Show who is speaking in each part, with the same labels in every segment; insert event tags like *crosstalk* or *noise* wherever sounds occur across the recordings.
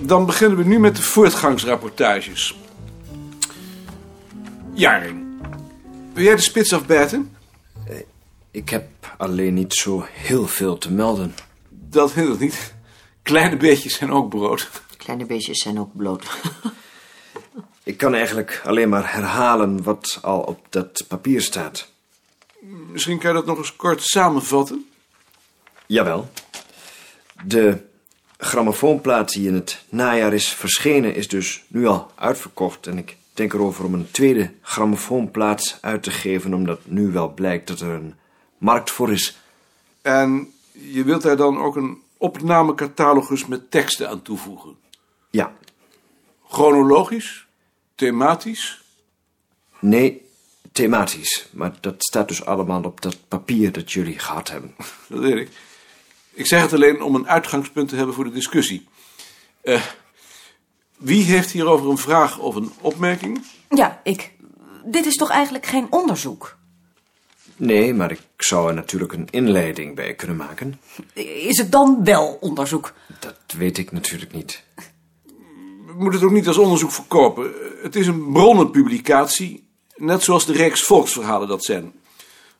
Speaker 1: Dan beginnen we nu met de voortgangsrapportages. Jaring, wil jij de spits afbijten?
Speaker 2: Ik heb alleen niet zo heel veel te melden.
Speaker 1: Dat hindert niet. Kleine beetjes zijn ook brood.
Speaker 3: Kleine beestjes zijn ook bloot.
Speaker 2: Ik kan eigenlijk alleen maar herhalen wat al op dat papier staat.
Speaker 1: Misschien kan je dat nog eens kort samenvatten.
Speaker 2: Jawel. De grammofoonplaat die in het najaar is verschenen is dus nu al uitverkocht. En ik denk erover om een tweede grammofoonplaat uit te geven... omdat nu wel blijkt dat er een markt voor is.
Speaker 1: En je wilt daar dan ook een opnamecatalogus met teksten aan toevoegen.
Speaker 2: Ja,
Speaker 1: Chronologisch, thematisch.
Speaker 2: nee, thematisch. Maar dat staat dus allemaal op dat papier dat jullie gehad hebben.
Speaker 1: Dat weet ik. Ik zeg het alleen om een uitgangspunt te hebben voor de discussie. Eh, wie heeft hierover een vraag of een opmerking?
Speaker 4: Ja, ik. Dit is toch eigenlijk geen onderzoek?
Speaker 2: Nee, maar ik zou er natuurlijk een inleiding bij kunnen maken.
Speaker 4: Is het dan wel onderzoek?
Speaker 2: Dat weet ik natuurlijk niet.
Speaker 1: We moeten het ook niet als onderzoek verkopen. Het is een bronnenpublicatie, net zoals de reeks volksverhalen dat zijn.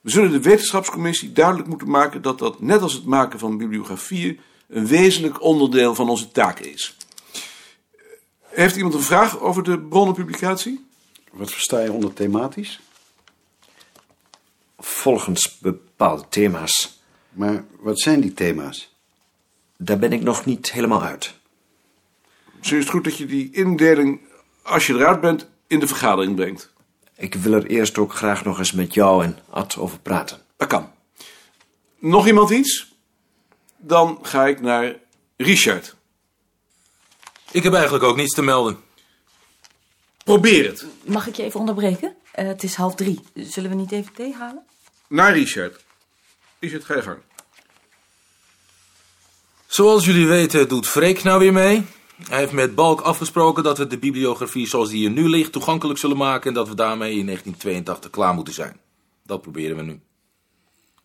Speaker 1: We zullen de wetenschapscommissie duidelijk moeten maken dat dat, net als het maken van bibliografieën, een wezenlijk onderdeel van onze taak is. Heeft iemand een vraag over de bronnenpublicatie?
Speaker 5: Wat versta je onder thematisch?
Speaker 2: Volgens bepaalde thema's.
Speaker 5: Maar wat zijn die thema's?
Speaker 2: Daar ben ik nog niet helemaal uit.
Speaker 1: Zo is het goed dat je die indeling, als je eruit bent, in de vergadering brengt.
Speaker 2: Ik wil er eerst ook graag nog eens met jou en Ad over praten.
Speaker 1: Dat kan. Nog iemand iets? Dan ga ik naar Richard.
Speaker 6: Ik heb eigenlijk ook niets te melden.
Speaker 1: Probeer het.
Speaker 4: Mag ik je even onderbreken? Eh, het is half drie. Zullen we niet even thee halen?
Speaker 1: Naar Richard. Richard, ga je gang.
Speaker 6: Zoals jullie weten doet Freek nou weer mee. Hij heeft met Balk afgesproken dat we de bibliografie zoals die er nu ligt toegankelijk zullen maken... en dat we daarmee in 1982 klaar moeten zijn. Dat proberen we nu.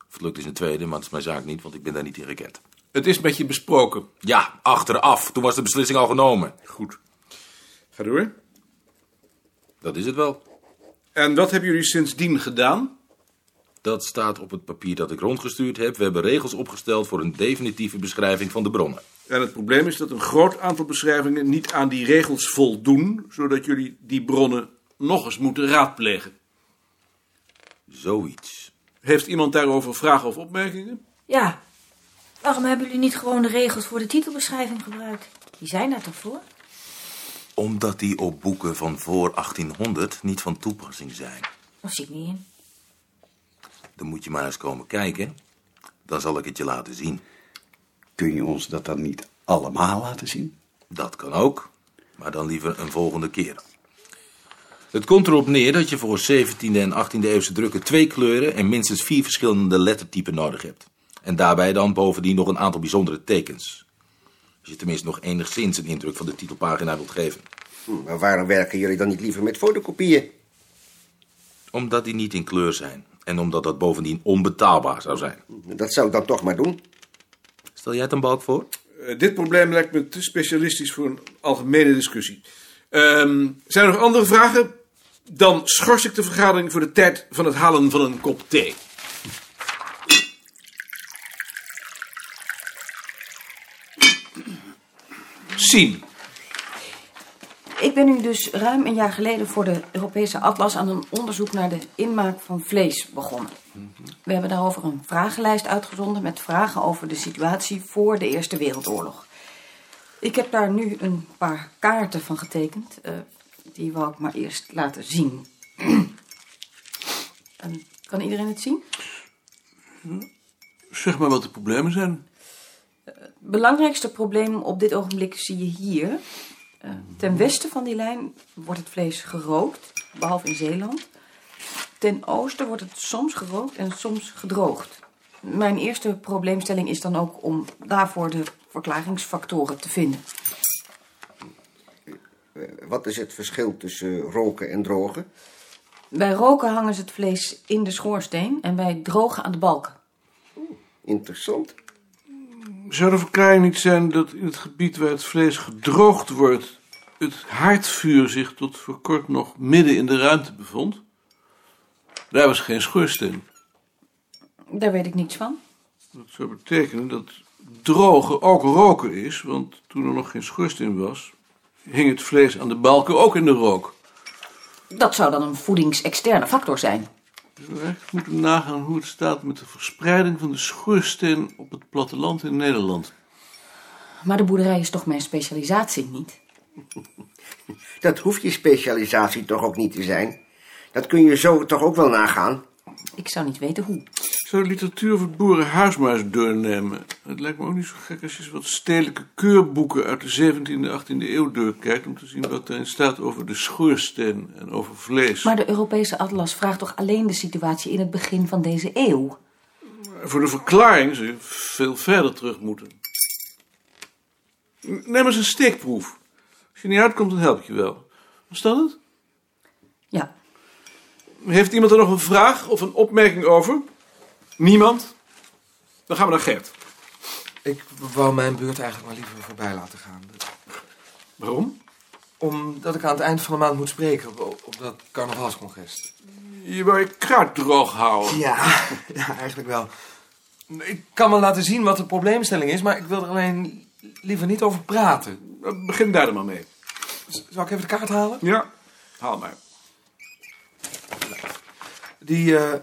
Speaker 6: Of het lukt is een tweede, maar dat is mijn zaak niet, want ik ben daar niet in gekend.
Speaker 1: Het is met je besproken.
Speaker 6: Ja, achteraf. Toen was de beslissing al genomen.
Speaker 1: Goed. Ga door.
Speaker 6: Dat is het wel.
Speaker 1: En wat hebben jullie sindsdien gedaan?
Speaker 6: Dat staat op het papier dat ik rondgestuurd heb. We hebben regels opgesteld voor een definitieve beschrijving van de bronnen.
Speaker 1: En het probleem is dat een groot aantal beschrijvingen niet aan die regels voldoen, zodat jullie die bronnen nog eens moeten raadplegen.
Speaker 6: Zoiets.
Speaker 1: Heeft iemand daarover vragen of opmerkingen?
Speaker 7: Ja. Waarom hebben jullie niet gewoon de regels voor de titelbeschrijving gebruikt? Die zijn daar toch voor?
Speaker 6: Omdat die op boeken van voor 1800 niet van toepassing zijn.
Speaker 7: Dat zie ik niet in.
Speaker 6: Dan moet je maar eens komen kijken. Dan zal ik het je laten zien.
Speaker 5: Kun je ons dat dan niet allemaal laten zien?
Speaker 6: Dat kan ook, maar dan liever een volgende keer. Het komt erop neer dat je voor 17e en 18e eeuwse drukken twee kleuren en minstens vier verschillende lettertypen nodig hebt. En daarbij dan bovendien nog een aantal bijzondere tekens. Als je tenminste nog enigszins een indruk van de titelpagina wilt geven.
Speaker 8: Hm, Maar waarom werken jullie dan niet liever met fotokopieën?
Speaker 6: Omdat die niet in kleur zijn. En omdat dat bovendien onbetaalbaar zou zijn.
Speaker 8: Dat zou ik dan toch maar doen.
Speaker 6: Stel jij het een balk voor?
Speaker 1: Eh, dit probleem lijkt me te specialistisch voor een algemene discussie. Ehm, zijn er nog andere vragen? Dan schors ik de vergadering voor de tijd van het halen van een kop thee. Sien,
Speaker 4: Ik ben nu dus ruim een jaar geleden voor de Europese Atlas aan een onderzoek naar de inmaak van vlees begonnen. We hebben daarover een vragenlijst uitgezonden met vragen over de situatie voor de Eerste Wereldoorlog. Ik heb daar nu een paar kaarten van getekend. eh, die wou ik maar eerst laten zien. *clears throat* En kan iedereen het zien?
Speaker 1: zeg maar wat de problemen zijn.
Speaker 4: belangrijkste probleem op dit ogenblik zie je hier. Eh, ten westen van die lijn wordt het vlees gerookt, behalve in Zeeland. Ten oosten wordt het soms gerookt en soms gedroogd. Mijn eerste probleemstelling is dan ook om daarvoor de verklaringsfactoren te vinden.
Speaker 8: Eh, Wat is het verschil tussen eh, roken en drogen?
Speaker 4: Bij roken hangen ze het vlees in de schoorsteen en bij drogen aan de balken.
Speaker 8: Interessant.
Speaker 1: Zou de verklaring niet zijn dat in het gebied waar het vlees gedroogd wordt... het haardvuur zich tot voor kort nog midden in de ruimte bevond? Daar was geen schoorsteen.
Speaker 4: Daar weet ik niets van.
Speaker 1: Dat zou betekenen dat drogen ook roken is... want toen er nog geen schoorsteen was... hing het vlees aan de balken ook in de rook.
Speaker 4: Dat zou dan een voedingsexterne factor zijn.
Speaker 1: Dus We zouden echt moeten nagaan hoe het staat met de verspreiding van de schoorsteen... op het platteland in Nederland.
Speaker 4: Maar de boerderij is toch mijn specialisatie niet?
Speaker 8: Dat hoeft je specialisatie toch ook niet te zijn? Dat kun je zo toch ook wel nagaan?
Speaker 4: Ik zou niet weten hoe.
Speaker 1: Ik zou de literatuur voor boerenhuis maar eens doornemen. Het lijkt me ook niet zo gek als je eens wat stedelijke keurboeken uit de 17e en 18e eeuw doorkijkt... om te zien wat daarin staat over de schoorsteen en over vlees.
Speaker 4: Maar de Europese atlas vraagt toch alleen de situatie in het begin van deze eeuw?
Speaker 1: Voor de verklaring zou je veel verder terug moeten. Neem eens een steekproef. Als je niet uitkomt, dan help ik je wel. Was dat het?
Speaker 4: Ja,
Speaker 1: Heeft iemand er nog een vraag of een opmerking over? Niemand? Dan gaan we naar Gert.
Speaker 9: Ik wou mijn beurt eigenlijk maar liever voorbij laten gaan.
Speaker 1: Waarom?
Speaker 9: Omdat ik aan het eind van de maand moet spreken op, op dat carnavalscongres.
Speaker 1: Je wou je kruid droog
Speaker 10: *laughs*
Speaker 1: houden.
Speaker 9: Ja, ja, eigenlijk wel. Ik kan wel laten zien wat de probleemstelling is, maar ik wil er alleen liever niet over praten.
Speaker 1: Nou, Begin daar dan maar mee.
Speaker 9: Z- Zal ik even de kaart halen?
Speaker 1: Ja. Haal maar.
Speaker 9: Die eh,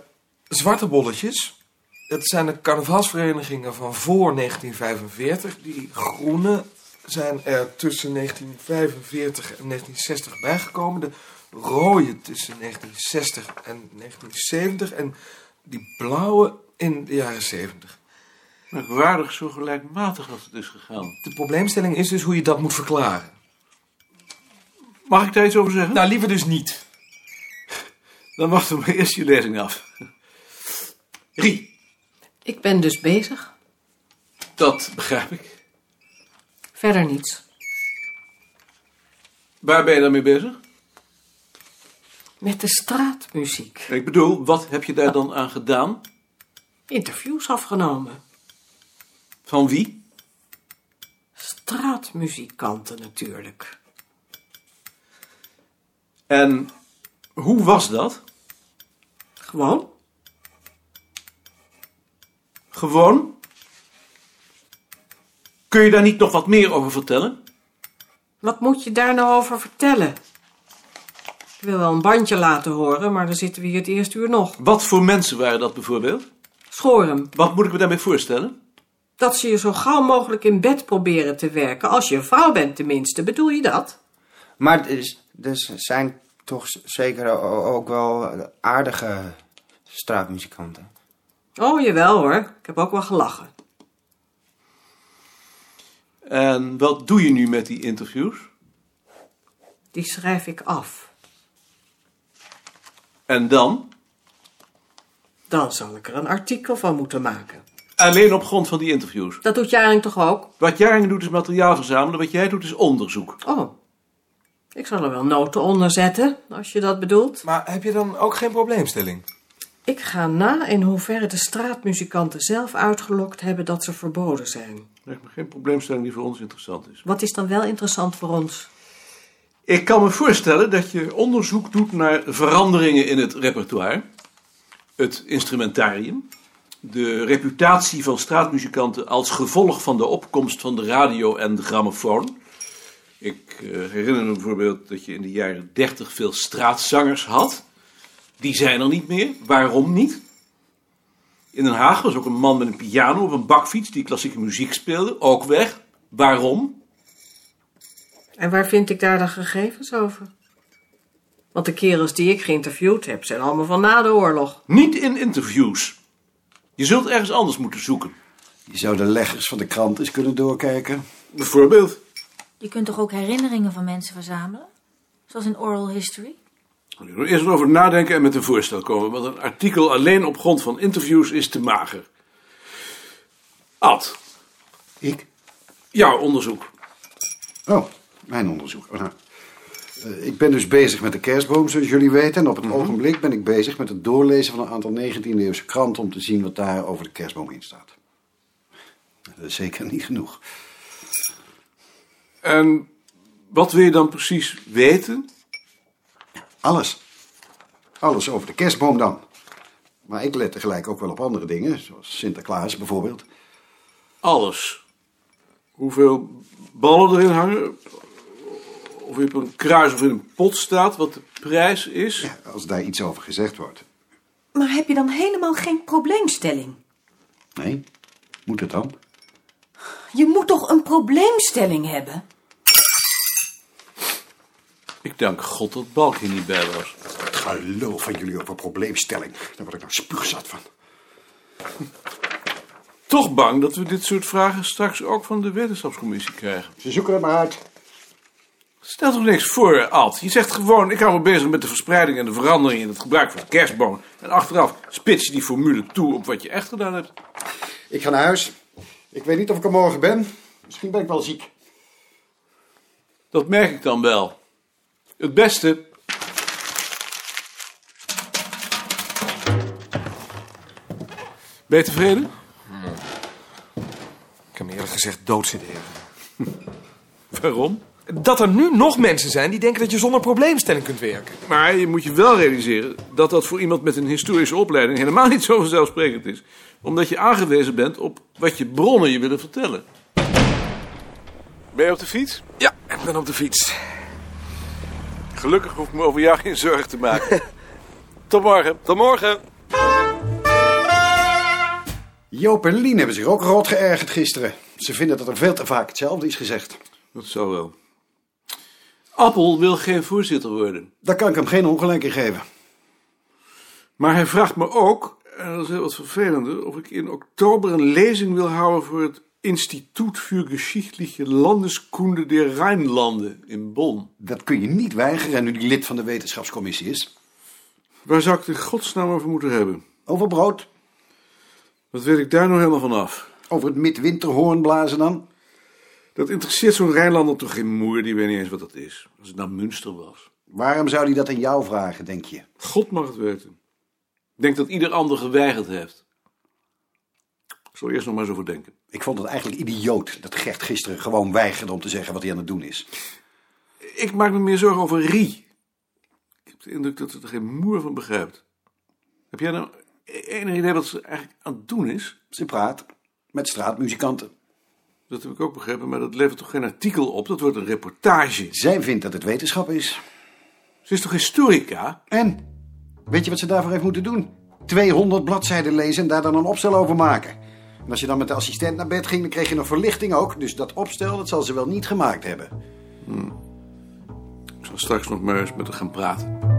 Speaker 9: zwarte bolletjes, dat zijn de carnavalsverenigingen van voor 1945. Die groene zijn er tussen 1945 en 1960 bijgekomen. De rode tussen 1960 en 1970. En die blauwe in de jaren 70.
Speaker 1: Merkwaardig zo gelijkmatig als het is gegaan.
Speaker 9: De probleemstelling is dus hoe je dat moet verklaren.
Speaker 1: Mag ik daar iets over zeggen?
Speaker 9: Nou, liever dus niet.
Speaker 1: Dan wachten we eerst je lezing af. Rie,
Speaker 11: Ik ben dus bezig.
Speaker 1: dat begrijp ik.
Speaker 11: Verder niets.
Speaker 1: Waar ben je dan mee bezig?
Speaker 11: Met de straatmuziek.
Speaker 1: Ik bedoel, wat heb je daar dan aan gedaan?
Speaker 11: Interviews afgenomen.
Speaker 1: Van wie?
Speaker 11: Straatmuzikanten natuurlijk.
Speaker 1: En hoe was dat?
Speaker 11: Gewoon?
Speaker 1: Gewoon? Kun je daar niet nog wat meer over vertellen?
Speaker 11: Wat moet je daar nou over vertellen? Ik wil wel een bandje laten horen, maar dan zitten we hier het eerste uur nog.
Speaker 1: Wat voor mensen waren dat bijvoorbeeld?
Speaker 11: Schoor hem.
Speaker 1: Wat moet ik me daarmee voorstellen?
Speaker 11: Dat ze je zo gauw mogelijk in bed proberen te werken. Als je een vrouw bent tenminste, bedoel je dat?
Speaker 10: Maar er is- er zijn toch z- zeker o- ook wel aardige straatmuzikanten.
Speaker 11: Oh, jawel hoor. Ik heb ook wel gelachen.
Speaker 1: En wat doe je nu met die interviews?
Speaker 11: Die schrijf ik af.
Speaker 1: En dan?
Speaker 11: Dan zal ik er een artikel van moeten maken.
Speaker 1: Alleen op grond van die interviews.
Speaker 11: Dat doet Jaring toch ook?
Speaker 1: Wat Jaring doet is materiaal verzamelen, wat jij doet is onderzoek.
Speaker 11: Oh, ik zal er wel noten onder zetten, als je dat bedoelt.
Speaker 9: Maar heb je dan ook geen probleemstelling?
Speaker 11: Ik ga na in hoeverre de straatmuzikanten zelf uitgelokt hebben dat ze verboden zijn.
Speaker 1: Lijkt me geen probleemstelling die voor ons interessant is.
Speaker 11: Wat is dan wel interessant voor ons?
Speaker 1: Ik kan me voorstellen dat je onderzoek doet naar veranderingen in het repertoire, het instrumentarium, de reputatie van straatmuzikanten als gevolg van de opkomst van de radio en de grammofoon. Ik eh, herinner me bijvoorbeeld dat je in de jaren 30 veel straatzangers had. Die zijn er niet meer. Waarom niet? In Den Haag was ook een man met een piano op een bakfiets die klassieke muziek speelde, ook weg. Waarom?
Speaker 11: En waar vind ik daar dan gegevens over? Want de kerels die ik geïnterviewd heb, zijn allemaal van na de oorlog.
Speaker 1: Niet in interviews. Je zult ergens anders moeten zoeken.
Speaker 5: Je zou de leggers van de krant eens kunnen doorkijken.
Speaker 1: Bijvoorbeeld?
Speaker 7: Je kunt toch ook herinneringen van mensen verzamelen? Zoals in oral history?
Speaker 1: Eerst erover nadenken en met een voorstel komen. Want een artikel alleen op grond van interviews is te mager. Ad,
Speaker 5: Ik?
Speaker 1: jouw onderzoek.
Speaker 5: Oh, mijn onderzoek. Oh, nou. Eh, Ik ben dus bezig met de kerstboom, zoals jullie weten. En op het ogenblik ben ik bezig met het doorlezen van een aantal 19e-eeuwse kranten... om te zien wat daar over de kerstboom in staat. Nou, Dat is zeker niet genoeg.
Speaker 1: En wat wil je dan precies weten?
Speaker 5: Alles. Alles over de kerstboom dan. Maar ik let tegelijk ook wel op andere dingen, zoals Sinterklaas bijvoorbeeld.
Speaker 1: Alles. Hoeveel ballen erin hangen? Of je op een kruis of in een pot staat, wat de prijs is?
Speaker 5: Als daar iets over gezegd wordt.
Speaker 4: Maar heb je dan helemaal geen probleemstelling?
Speaker 5: Nee? Moet het dan?
Speaker 4: Je moet toch een probleemstelling hebben?
Speaker 1: Ik dank God dat Balk hier niet bij was.
Speaker 5: Geloof van jullie over probleemstelling. Daar word ik nou spuugzat van.
Speaker 1: Toch bang dat we dit soort vragen straks ook van de wetenschapscommissie krijgen.
Speaker 5: Ze zoeken het maar uit.
Speaker 1: Stel toch niks voor, Ad. Je zegt gewoon, ik hou me bezig met de verspreiding en de verandering in het gebruik van de kerstboom. En achteraf spits je die formule toe op wat je echt gedaan hebt.
Speaker 5: Ik ga naar huis. Ik weet niet of ik er morgen ben. Misschien ben ik wel ziek.
Speaker 1: Dat merk ik dan wel. Het beste. Ben je tevreden?
Speaker 9: Ik heb me eerlijk gezegd doodsideren.
Speaker 1: *laughs* Waarom?
Speaker 9: Dat er nu nog mensen zijn die denken dat je zonder probleemstelling kunt werken.
Speaker 1: Maar je moet je wel realiseren dat dat voor iemand met een historische opleiding helemaal niet zo vanzelfsprekend is. Omdat je aangewezen bent op wat je bronnen je willen vertellen. Ben je op de fiets?
Speaker 9: Ja, ik ben op de fiets.
Speaker 1: Gelukkig hoef ik me over jou geen zorgen te maken. *laughs* Tot morgen.
Speaker 9: Tot morgen.
Speaker 5: Joop en Lien hebben zich ook rot geërgerd gisteren. Ze vinden dat er veel te vaak hetzelfde is gezegd.
Speaker 1: Dat zou wel. Appel wil geen voorzitter worden.
Speaker 5: Daar kan ik hem geen ongelijk in geven.
Speaker 1: Maar hij vraagt me ook, en dat is heel wat vervelender, of ik in oktober een lezing wil houden voor het Instituut voor Geschichtliche Landeskunde der Rijnlanden in Bonn.
Speaker 5: Dat kun je niet weigeren nu die lid van de wetenschapscommissie is.
Speaker 1: Waar zou ik het in godsnaam over moeten hebben?
Speaker 5: Over brood,
Speaker 1: Wat weet ik daar nou helemaal van af?
Speaker 5: over het midwinterhoorn blazen dan.
Speaker 1: Dat interesseert zo'n Rijnlander toch geen moer, die weet niet eens wat dat is. Als het nou Münster was.
Speaker 5: Waarom zou hij dat aan jou vragen, denk je?
Speaker 1: God mag het weten. Ik denk dat ieder ander geweigerd heeft. Ik zal er eerst nog maar eens over denken.
Speaker 5: Ik vond het eigenlijk idioot dat Gert gisteren gewoon weigerde om te zeggen wat hij aan het doen is.
Speaker 1: Ik maak me meer zorgen over Rie. Ik heb de indruk dat ze er geen moer van begrijpt. Heb jij nou enig idee wat ze eigenlijk aan het doen is?
Speaker 5: Ze praat met straatmuzikanten.
Speaker 1: Dat heb ik ook begrepen, maar dat levert toch geen artikel op? Dat wordt een reportage.
Speaker 5: Zij vindt dat het wetenschap is.
Speaker 1: Ze is toch historica?
Speaker 5: En, weet je wat ze daarvoor heeft moeten doen? 200 bladzijden lezen en daar dan een opstel over maken. En als je dan met de assistent naar bed ging, dan kreeg je nog verlichting ook. Dus dat opstel, dat zal ze wel niet gemaakt hebben.
Speaker 1: Ik zal straks nog maar eens met haar gaan praten.